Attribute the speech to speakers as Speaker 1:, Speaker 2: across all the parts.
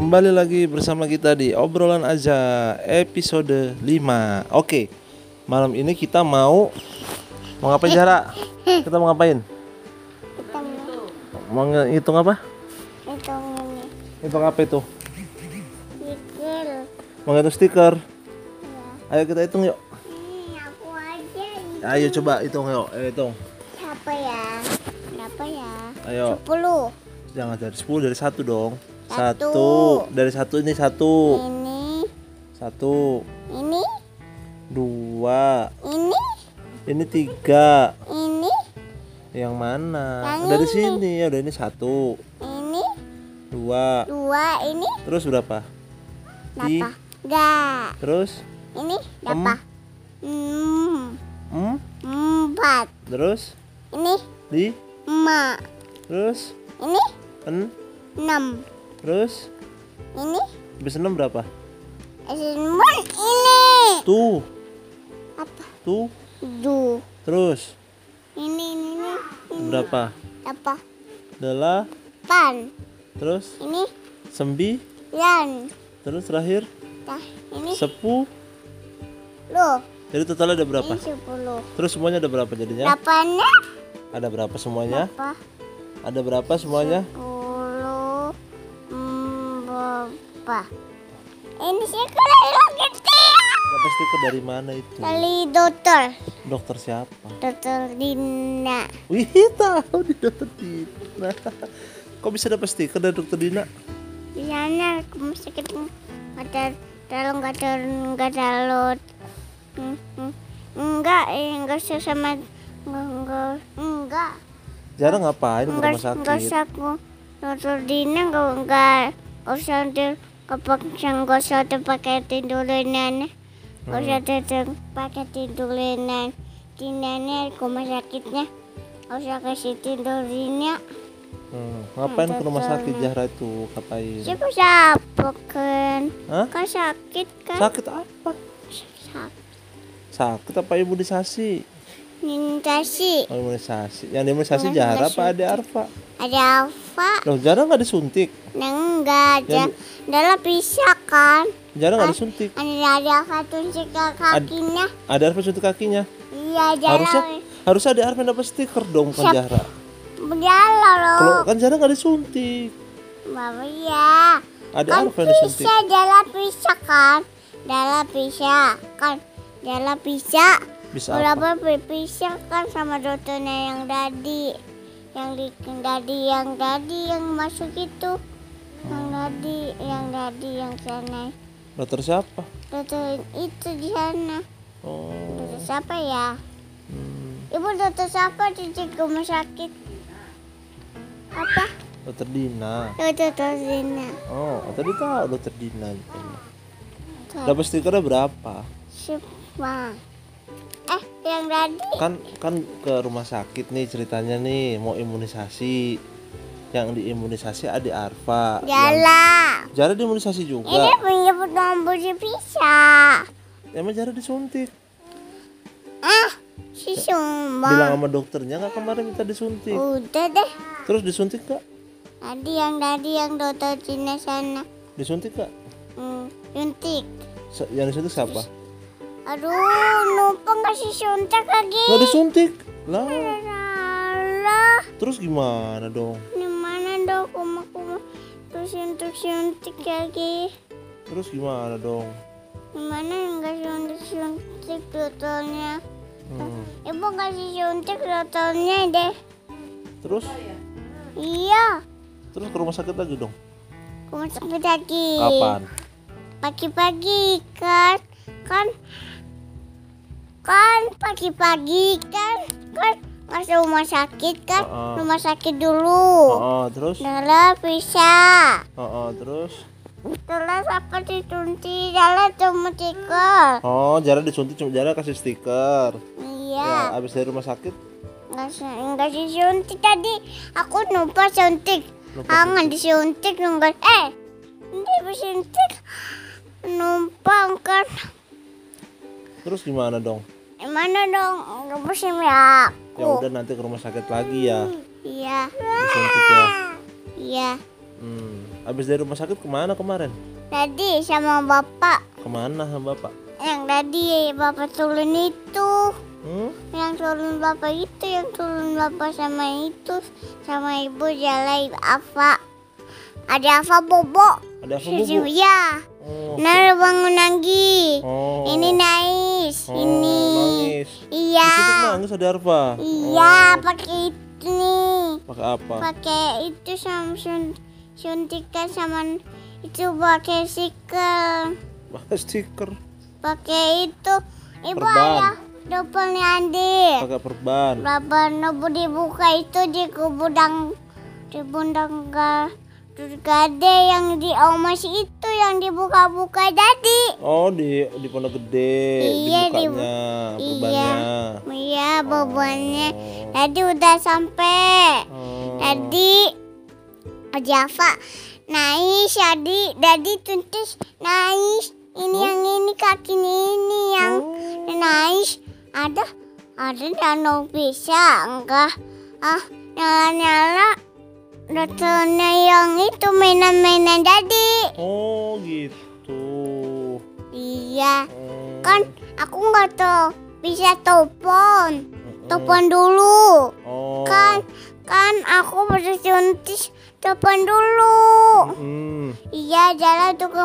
Speaker 1: Kembali lagi bersama kita di obrolan aja episode 5 Oke, malam ini kita mau mau ngapain Zara? Kita mau ngapain?
Speaker 2: ya.
Speaker 1: Mau ngitung apa?
Speaker 2: Itu ini
Speaker 1: Hitung apa itu?
Speaker 2: ya. mikir
Speaker 1: Mau ngitung stiker? Ayo kita hitung yuk.
Speaker 2: Ini aku aja ini.
Speaker 1: Ayo coba hitung yuk. Ayo hitung.
Speaker 2: Siapa ya? Berapa ya?
Speaker 1: Ayo.
Speaker 2: Sepuluh
Speaker 1: Jangan dari 10 dari 1 dong.
Speaker 2: Satu.
Speaker 1: 1 dari 1 ini 1. 1
Speaker 2: Ini Ini
Speaker 1: 2
Speaker 2: Ini
Speaker 1: ini 3.
Speaker 2: Ini
Speaker 1: Yang mana?
Speaker 2: Yang
Speaker 1: dari
Speaker 2: ini.
Speaker 1: sini ya udah ini 1
Speaker 2: Ini
Speaker 1: 2
Speaker 2: Dua Ini
Speaker 1: Terus berapa? Di-
Speaker 2: Berapa? Enggak
Speaker 1: Terus
Speaker 2: Ini berapa? Hmm
Speaker 1: hmm?
Speaker 2: Empat
Speaker 1: Terus
Speaker 2: Ini
Speaker 1: di
Speaker 2: Emak
Speaker 1: terus
Speaker 2: Ini
Speaker 1: en
Speaker 2: Enam
Speaker 1: terus
Speaker 2: Ini
Speaker 1: habis 6 berapa?
Speaker 2: Sembilan Ini
Speaker 1: Tuh,
Speaker 2: Apa?
Speaker 1: tuh.
Speaker 2: Tujuh
Speaker 1: Terus
Speaker 2: Ini Ini Ini
Speaker 1: berapa?
Speaker 2: Berapa?
Speaker 1: Adalah
Speaker 2: Pan
Speaker 1: terus
Speaker 2: Ini
Speaker 1: sembi
Speaker 2: Lan
Speaker 1: terus terakhir
Speaker 2: Nah, ini
Speaker 1: sepuh
Speaker 2: lo,
Speaker 1: jadi totalnya ada berapa?
Speaker 2: ini sepuluh.
Speaker 1: Terus semuanya ada berapa jadinya?
Speaker 2: Delapannya
Speaker 1: Ada berapa semuanya?
Speaker 2: apa?
Speaker 1: Ada berapa semuanya?
Speaker 2: Sepuluh berapa? Ini sih kalau gede ya.
Speaker 1: Dapat stiker dari mana itu?
Speaker 2: Dari dokter,
Speaker 1: Dokter siapa?
Speaker 2: dokter Dina.
Speaker 1: Wih tahu di dokter Dina. Kok bisa dapat stiker dari dokter Dina?
Speaker 2: Di sana aku mesti ketemu ada kalau nggak ada nggak ada lot. Hmm, hmm. Enggak, eh, enggak usah sama enggak enggak
Speaker 1: Zara ngapain ke
Speaker 2: Enggak,
Speaker 1: rumah sakit?
Speaker 2: enggak usah aku nutur Dina enggak enggak enggak usah tidur kepaksa enggak usah tuh pakai tiduran enggak usah
Speaker 1: Hmm.
Speaker 2: tidur pakai tiduran Dinanya di rumah sakitnya enggak usah kasih tidur Dina
Speaker 1: Hmm, ngapain ke rumah
Speaker 2: Dokter.
Speaker 1: sakit Zahra itu? Ngapain?
Speaker 2: siapa siapa kan
Speaker 1: Hah?
Speaker 2: kan sakit kan
Speaker 1: Sakit apa?
Speaker 2: sakit
Speaker 1: Sakit apa imunisasi?
Speaker 2: minta sih
Speaker 1: Oh, imunisasi. Yang imunisasi
Speaker 2: Imunisasi.
Speaker 1: Zahra apa ada Arfa?
Speaker 2: ada apa
Speaker 1: Loh, Zahra nggak disuntik.
Speaker 2: nah, enggak ada
Speaker 1: Yang-
Speaker 2: dalam bisa kan
Speaker 1: Zahra nggak
Speaker 2: Ah.
Speaker 1: disuntik.
Speaker 2: ada ada satu sikat kakinya
Speaker 1: Ada Arfa suntik kakinya.
Speaker 2: iya
Speaker 1: Harusnya
Speaker 2: jalan
Speaker 1: harusnya ada Arfa yang dapat stiker dong kan
Speaker 2: Siap.
Speaker 1: Zahra.
Speaker 2: Berjalan
Speaker 1: Kalau
Speaker 2: loh.
Speaker 1: kan Zahra nggak disuntik.
Speaker 2: Mama ya.
Speaker 1: Ada
Speaker 2: Kan
Speaker 1: Arfa yang disuntik.
Speaker 2: bisa jalan bisa kan? Jalan bisa kan? Jalan bisa.
Speaker 1: Bisa apa?
Speaker 2: Berapa berpisah kan sama dokternya yang tadi. Yang di yang tadi yang tadi yang masuk itu. Yang
Speaker 1: Oh.
Speaker 2: tadi yang tadi yang sana.
Speaker 1: Dokter siapa?
Speaker 2: Dokter itu di sana.
Speaker 1: Oh. hmm,
Speaker 2: Dokter siapa ya? Ibu dokter siapa di rumah sakit? Apa?
Speaker 1: Dokter Dina.
Speaker 2: Dokter Tosina.
Speaker 1: Oh, tadi tahu dokter Dina. Dapat stikernya berapa?
Speaker 2: Siapa? Eh, yang tadi
Speaker 1: Kan kan ke rumah sakit nih ceritanya nih mau imunisasi. Yang diimunisasi Adi Arfa. Yang-
Speaker 2: jalan.
Speaker 1: Zara diimunisasi juga.
Speaker 2: Ini punya nomor bisa.
Speaker 1: Emang Zara disuntik.
Speaker 2: Ah, si
Speaker 1: Bilang
Speaker 2: Sumba.
Speaker 1: sama dokternya nggak kemarin minta disuntik.
Speaker 2: Udah deh.
Speaker 1: Terus disuntik nggak?
Speaker 2: Tadi yang tadi yang dokter Cina sana.
Speaker 1: Disuntik nggak?
Speaker 2: Hmm, suntik.
Speaker 1: Se- Yang disuntik siapa?
Speaker 2: Aduh, lupa ngasih suntik
Speaker 1: Nggak
Speaker 2: lagi.
Speaker 1: disuntik. Lah,
Speaker 2: Salah.
Speaker 1: terus gimana dong?
Speaker 2: Ini mana dong kuma kuma terus suntik suntik lagi.
Speaker 1: Terus gimana dong?
Speaker 2: Gimana nggak suntik suntik dokternya?
Speaker 1: Hmm.
Speaker 2: Ibu kasih suntik dokternya deh.
Speaker 1: Terus
Speaker 2: Iya,
Speaker 1: terus ke rumah sakit lagi dong.
Speaker 2: aku mau sakit lagi.
Speaker 1: Kapan?
Speaker 2: Pagi-pagi kan, kan, kan pagi-pagi kan, kan masuk rumah sakit kan,
Speaker 1: Ah, ah.
Speaker 2: rumah sakit dulu.
Speaker 1: Oh, terus?
Speaker 2: Dalam bisa,
Speaker 1: Oh, terus?
Speaker 2: terus apa ditunti dalam cuma tiga.
Speaker 1: Oh, Zara disuntik cuma Zara kasih stiker. Ya,
Speaker 2: Iya,
Speaker 1: abis dari rumah sakit
Speaker 2: nggak su- nggak disuntik tadi. Aku lupa suntik.
Speaker 1: Lupa
Speaker 2: Jangan disuntik nggak. Eh, nanti disuntik numpang kan.
Speaker 1: terus gimana dong?
Speaker 2: Mana dong rebus ya
Speaker 1: Ya
Speaker 2: aku.
Speaker 1: udah nanti ke rumah sakit lagi ya.
Speaker 2: Iya.
Speaker 1: Disuntik ya.
Speaker 2: Iya.
Speaker 1: Hmm. Abis dari rumah sakit kemana kemarin?
Speaker 2: Tadi sama bapak
Speaker 1: Kemana sama bapak?
Speaker 2: yang tadi bapak turun itu,
Speaker 1: Hmm?
Speaker 2: yang turun bapak itu, yang turun bapak sama itu, sama ibu jalan apa? Ada apa bobo?
Speaker 1: Ada apa
Speaker 2: Susu
Speaker 1: bubu?
Speaker 2: ya.
Speaker 1: Oh.
Speaker 2: Nah bangun lagi.
Speaker 1: Oh.
Speaker 2: Ini nais,
Speaker 1: Oh,
Speaker 2: ini.
Speaker 1: Nangis.
Speaker 2: Iya.
Speaker 1: Disitu nangis Oh. ada Arfa.
Speaker 2: Iya, pakai itu nih.
Speaker 1: Pakai apa?
Speaker 2: Pakai itu sama sun suntikan sama itu pakai sikel.
Speaker 1: Pakai stiker.
Speaker 2: Pakai itu ibu
Speaker 1: Perban.
Speaker 2: ayah dompetnya Andi.
Speaker 1: Pakai perban.
Speaker 2: Berapa nobu dibuka itu di kubudang di bundang ga gade yang di omas itu yang dibuka-buka tadi.
Speaker 1: Oh di di pondok gede.
Speaker 2: Iya, di-
Speaker 1: dibukanya perbannya.
Speaker 2: Iya, bebannya.
Speaker 1: Oh.
Speaker 2: Tadi udah sampai.
Speaker 1: Oh.
Speaker 2: Tadi Java nais tadi tadi tuntas nais ini yang ini kaki ini yang nais ada ada danau bisa enggak ah nyala nyala datanya yang itu mainan mainan tadi
Speaker 1: Oh gitu.
Speaker 2: iya
Speaker 1: Hmm.
Speaker 2: kan aku nggak tahu bisa telepon
Speaker 1: Mm-mm.
Speaker 2: telepon dulu
Speaker 1: Oh.
Speaker 2: kan kan aku baru suntis telepon dulu
Speaker 1: Hmm.
Speaker 2: iya jalan tuh ke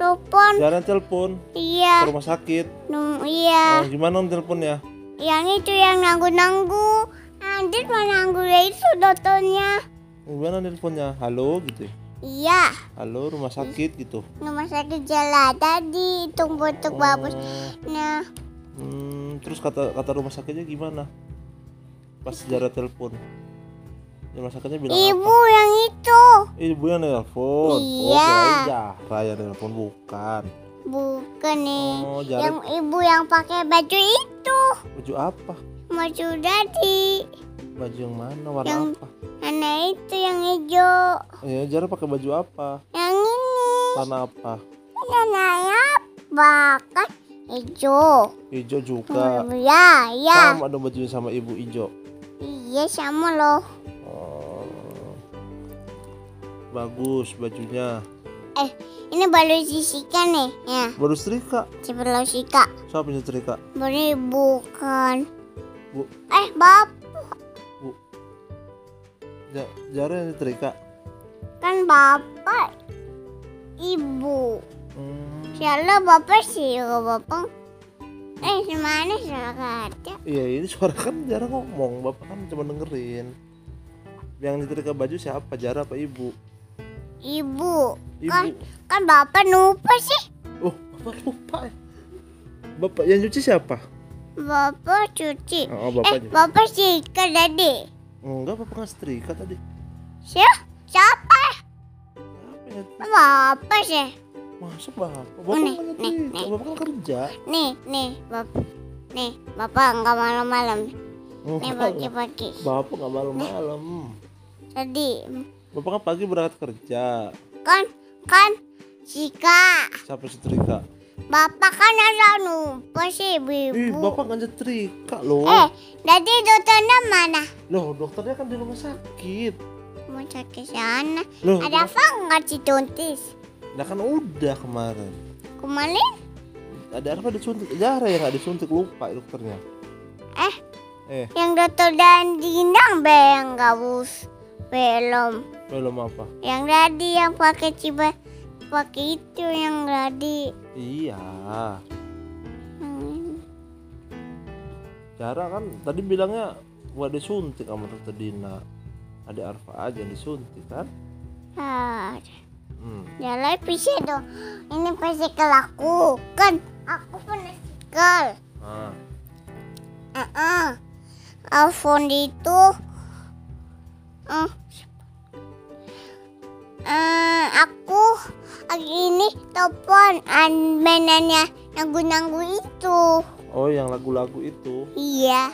Speaker 2: telepon
Speaker 1: Jarang telepon ke
Speaker 2: iya
Speaker 1: rumah sakit.
Speaker 2: nung-
Speaker 1: Oh,
Speaker 2: iya
Speaker 1: gimana om teleponnya?
Speaker 2: yang itu yang nanggu nanggu Andir mah nanggu ya itu dokternya
Speaker 1: Gimana teleponnya? Halo gitu. ya?
Speaker 2: iya
Speaker 1: Halo rumah sakit gitu.
Speaker 2: rumah sakit jalan tadi tunggu untuk babus
Speaker 1: Oh.
Speaker 2: nah
Speaker 1: Hmm, terus kata kata rumah sakitnya gimana? Pas sejarah telepon. Rumah sakitnya bilang
Speaker 2: ibu yang itu
Speaker 1: apa? Ibu yang telepon. Oh,
Speaker 2: Iya.
Speaker 1: kirain Zahra yang telepon bukan.
Speaker 2: bukan nih
Speaker 1: Oh,
Speaker 2: yang
Speaker 1: Zahra
Speaker 2: ibu yang pakai baju itu
Speaker 1: baju apa?
Speaker 2: baju tadi
Speaker 1: Baju yang mana? Warna
Speaker 2: Yang-
Speaker 1: apa?
Speaker 2: anak itu yang hijau
Speaker 1: Ya, Zahra pakai baju apa?
Speaker 2: yang ini
Speaker 1: Warna apa?
Speaker 2: Nanya bakar hijau.
Speaker 1: Hijau juga.
Speaker 2: Ya, ya.
Speaker 1: Nah. Sama dong bajunya sama ibu hijau.
Speaker 2: Iya sama loh.
Speaker 1: Oh. Bagus bajunya.
Speaker 2: Eh, ini baru sisikan nih. Ya,
Speaker 1: Baru setrika.
Speaker 2: sebelum sika.
Speaker 1: Siapa yang setrika?
Speaker 2: Beri bukan.
Speaker 1: Bu,
Speaker 2: Eh, bab
Speaker 1: Ja- Zahra yang setrika.
Speaker 2: kan bapak ibu.
Speaker 1: Hmm.
Speaker 2: Siapa bapak sih kok bapak? Eh, gimana salah kata?
Speaker 1: Iya ini suara kan jarang ngomong, bapak kan cuma dengerin. Yang nyetrika baju siapa? Jara apa ibu?
Speaker 2: Ibu.
Speaker 1: Ibu.
Speaker 2: Kan kan bapak lupa sih.
Speaker 1: Oh, bapak lupa. ya. Bapak yang cuci siapa?
Speaker 2: Bapak cuci.
Speaker 1: Oh,
Speaker 2: eh,
Speaker 1: bapak. juga.
Speaker 2: bapak sih kan tadi.
Speaker 1: Enggak, bapak nggak setrika tadi.
Speaker 2: Siapa? Siapa?
Speaker 1: Apa ya?
Speaker 2: Apa sih?
Speaker 1: Masa bapak?
Speaker 2: Oh,
Speaker 1: Bapak kan
Speaker 2: nih,
Speaker 1: nggak
Speaker 2: nih,
Speaker 1: nyetrika,
Speaker 2: nih.
Speaker 1: bapak kan kerja.
Speaker 2: Nih, nih, bapak. Nih, bapak nggak malam-malam. Nih
Speaker 1: Enggak, enggak.
Speaker 2: pagi-pagi.
Speaker 1: Bapak nggak malam-malam.
Speaker 2: Tadi
Speaker 1: Bapak kan pagi berangkat kerja.
Speaker 2: kan kan jika
Speaker 1: Siapa yang setrika?
Speaker 2: bapak kan ada lupa sih
Speaker 1: Ih,
Speaker 2: ibu.
Speaker 1: bapak nggak setrika loh.
Speaker 2: Eh, tadi dokternya mana?
Speaker 1: Loh, dokternya kan di rumah sakit.
Speaker 2: Mau cek ke sana.
Speaker 1: Loh,
Speaker 2: Ada apa nggak sih tuntis?
Speaker 1: Nah kan udah kemarin.
Speaker 2: Kemarin?
Speaker 1: ada apa disuntik Zahra yang nggak disuntik lupa dokternya
Speaker 2: Eh,
Speaker 1: eh
Speaker 2: yang dokter dan dindang be yang gabus belum.
Speaker 1: belum apa
Speaker 2: Yang tadi yang pakai ciba pakai itu yang tadi.
Speaker 1: iya
Speaker 2: Hmm.
Speaker 1: Zahra kan tadi bilangnya gua disuntik sama dokter Dina ada Arfa aja yang disuntik kan
Speaker 2: Ah,
Speaker 1: hmm.
Speaker 2: jalan pisah dong. Ini pesikel aku kan. Aku pernah pesikel.
Speaker 1: nah,
Speaker 2: Ah, ah. Alfon itu. Eh, eh, aku hari ini telepon an- mainannya nanggu-nanggu itu.
Speaker 1: oh yang lagu-lagu itu
Speaker 2: Iya.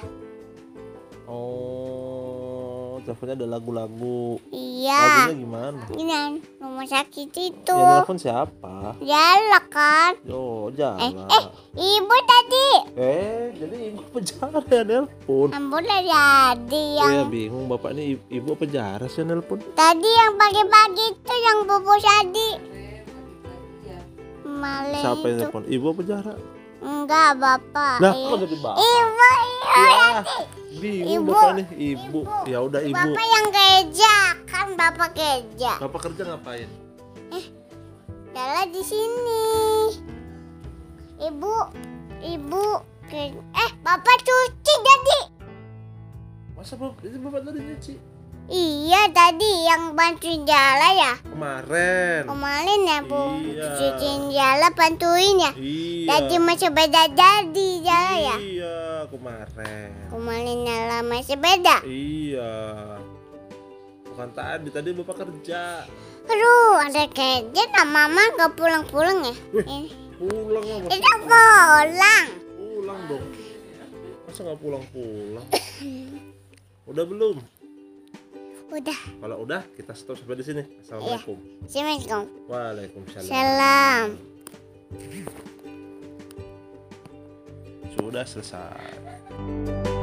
Speaker 1: oh teleponnya ada lagu-lagu
Speaker 2: Iya.
Speaker 1: lagunya Iya, gimana
Speaker 2: Ini rumah sakit itu.
Speaker 1: yang nelfon siapa
Speaker 2: Jalan kan.
Speaker 1: yo
Speaker 2: Eh,
Speaker 1: jala
Speaker 2: eh, ibu tadi.
Speaker 1: eh jadi ibu penjara ya nelpon
Speaker 2: Ambo udah jadi yang
Speaker 1: Iya bingung bapak ini i- ibu penjara sih yang nelpon
Speaker 2: tadi yang pagi-pagi itu yang bobo tadi. Malah
Speaker 1: siapa yang
Speaker 2: itu.
Speaker 1: nelpon ibu penjara
Speaker 2: Enggak, Bapak.
Speaker 1: lah
Speaker 2: I-
Speaker 1: kok jadi bapak
Speaker 2: Ah, iya. Ibu,
Speaker 1: Ya,
Speaker 2: iya. ibu.
Speaker 1: bingung
Speaker 2: Ibu.
Speaker 1: bapak nih ibu ya udah ibu
Speaker 2: Bapak yang gereja, kan Bapak gereja.
Speaker 1: bapak kerja ngapain
Speaker 2: Jalan di sini. Ibu, ibu ke- eh Bapak cuci jadi.
Speaker 1: masa bapak ini bapak tadi nyuci
Speaker 2: Iya tadi yang bantuin Jala ya.
Speaker 1: kemarin
Speaker 2: Kemarin ya Bu
Speaker 1: Iya.
Speaker 2: cuciin Jala bantuin ya.
Speaker 1: iya
Speaker 2: Tadi masih beda jadi Jala ya.
Speaker 1: iya kemarin
Speaker 2: Kemarin Jala masih beda.
Speaker 1: iya bukan tadi tadi bapak kerja
Speaker 2: Aduh, ada kerja nah mama gak pulang-pulang ya. Ini
Speaker 1: pulang lah bapak
Speaker 2: Tidak pulang.
Speaker 1: pulang dong masa nggak pulang pulang udah belum
Speaker 2: Udah,
Speaker 1: kalau udah kita stop sampai di sini assalamualaikum
Speaker 2: Iya. Assalamualaikum.
Speaker 1: waalaikumsalam
Speaker 2: Salam.
Speaker 1: sudah selesai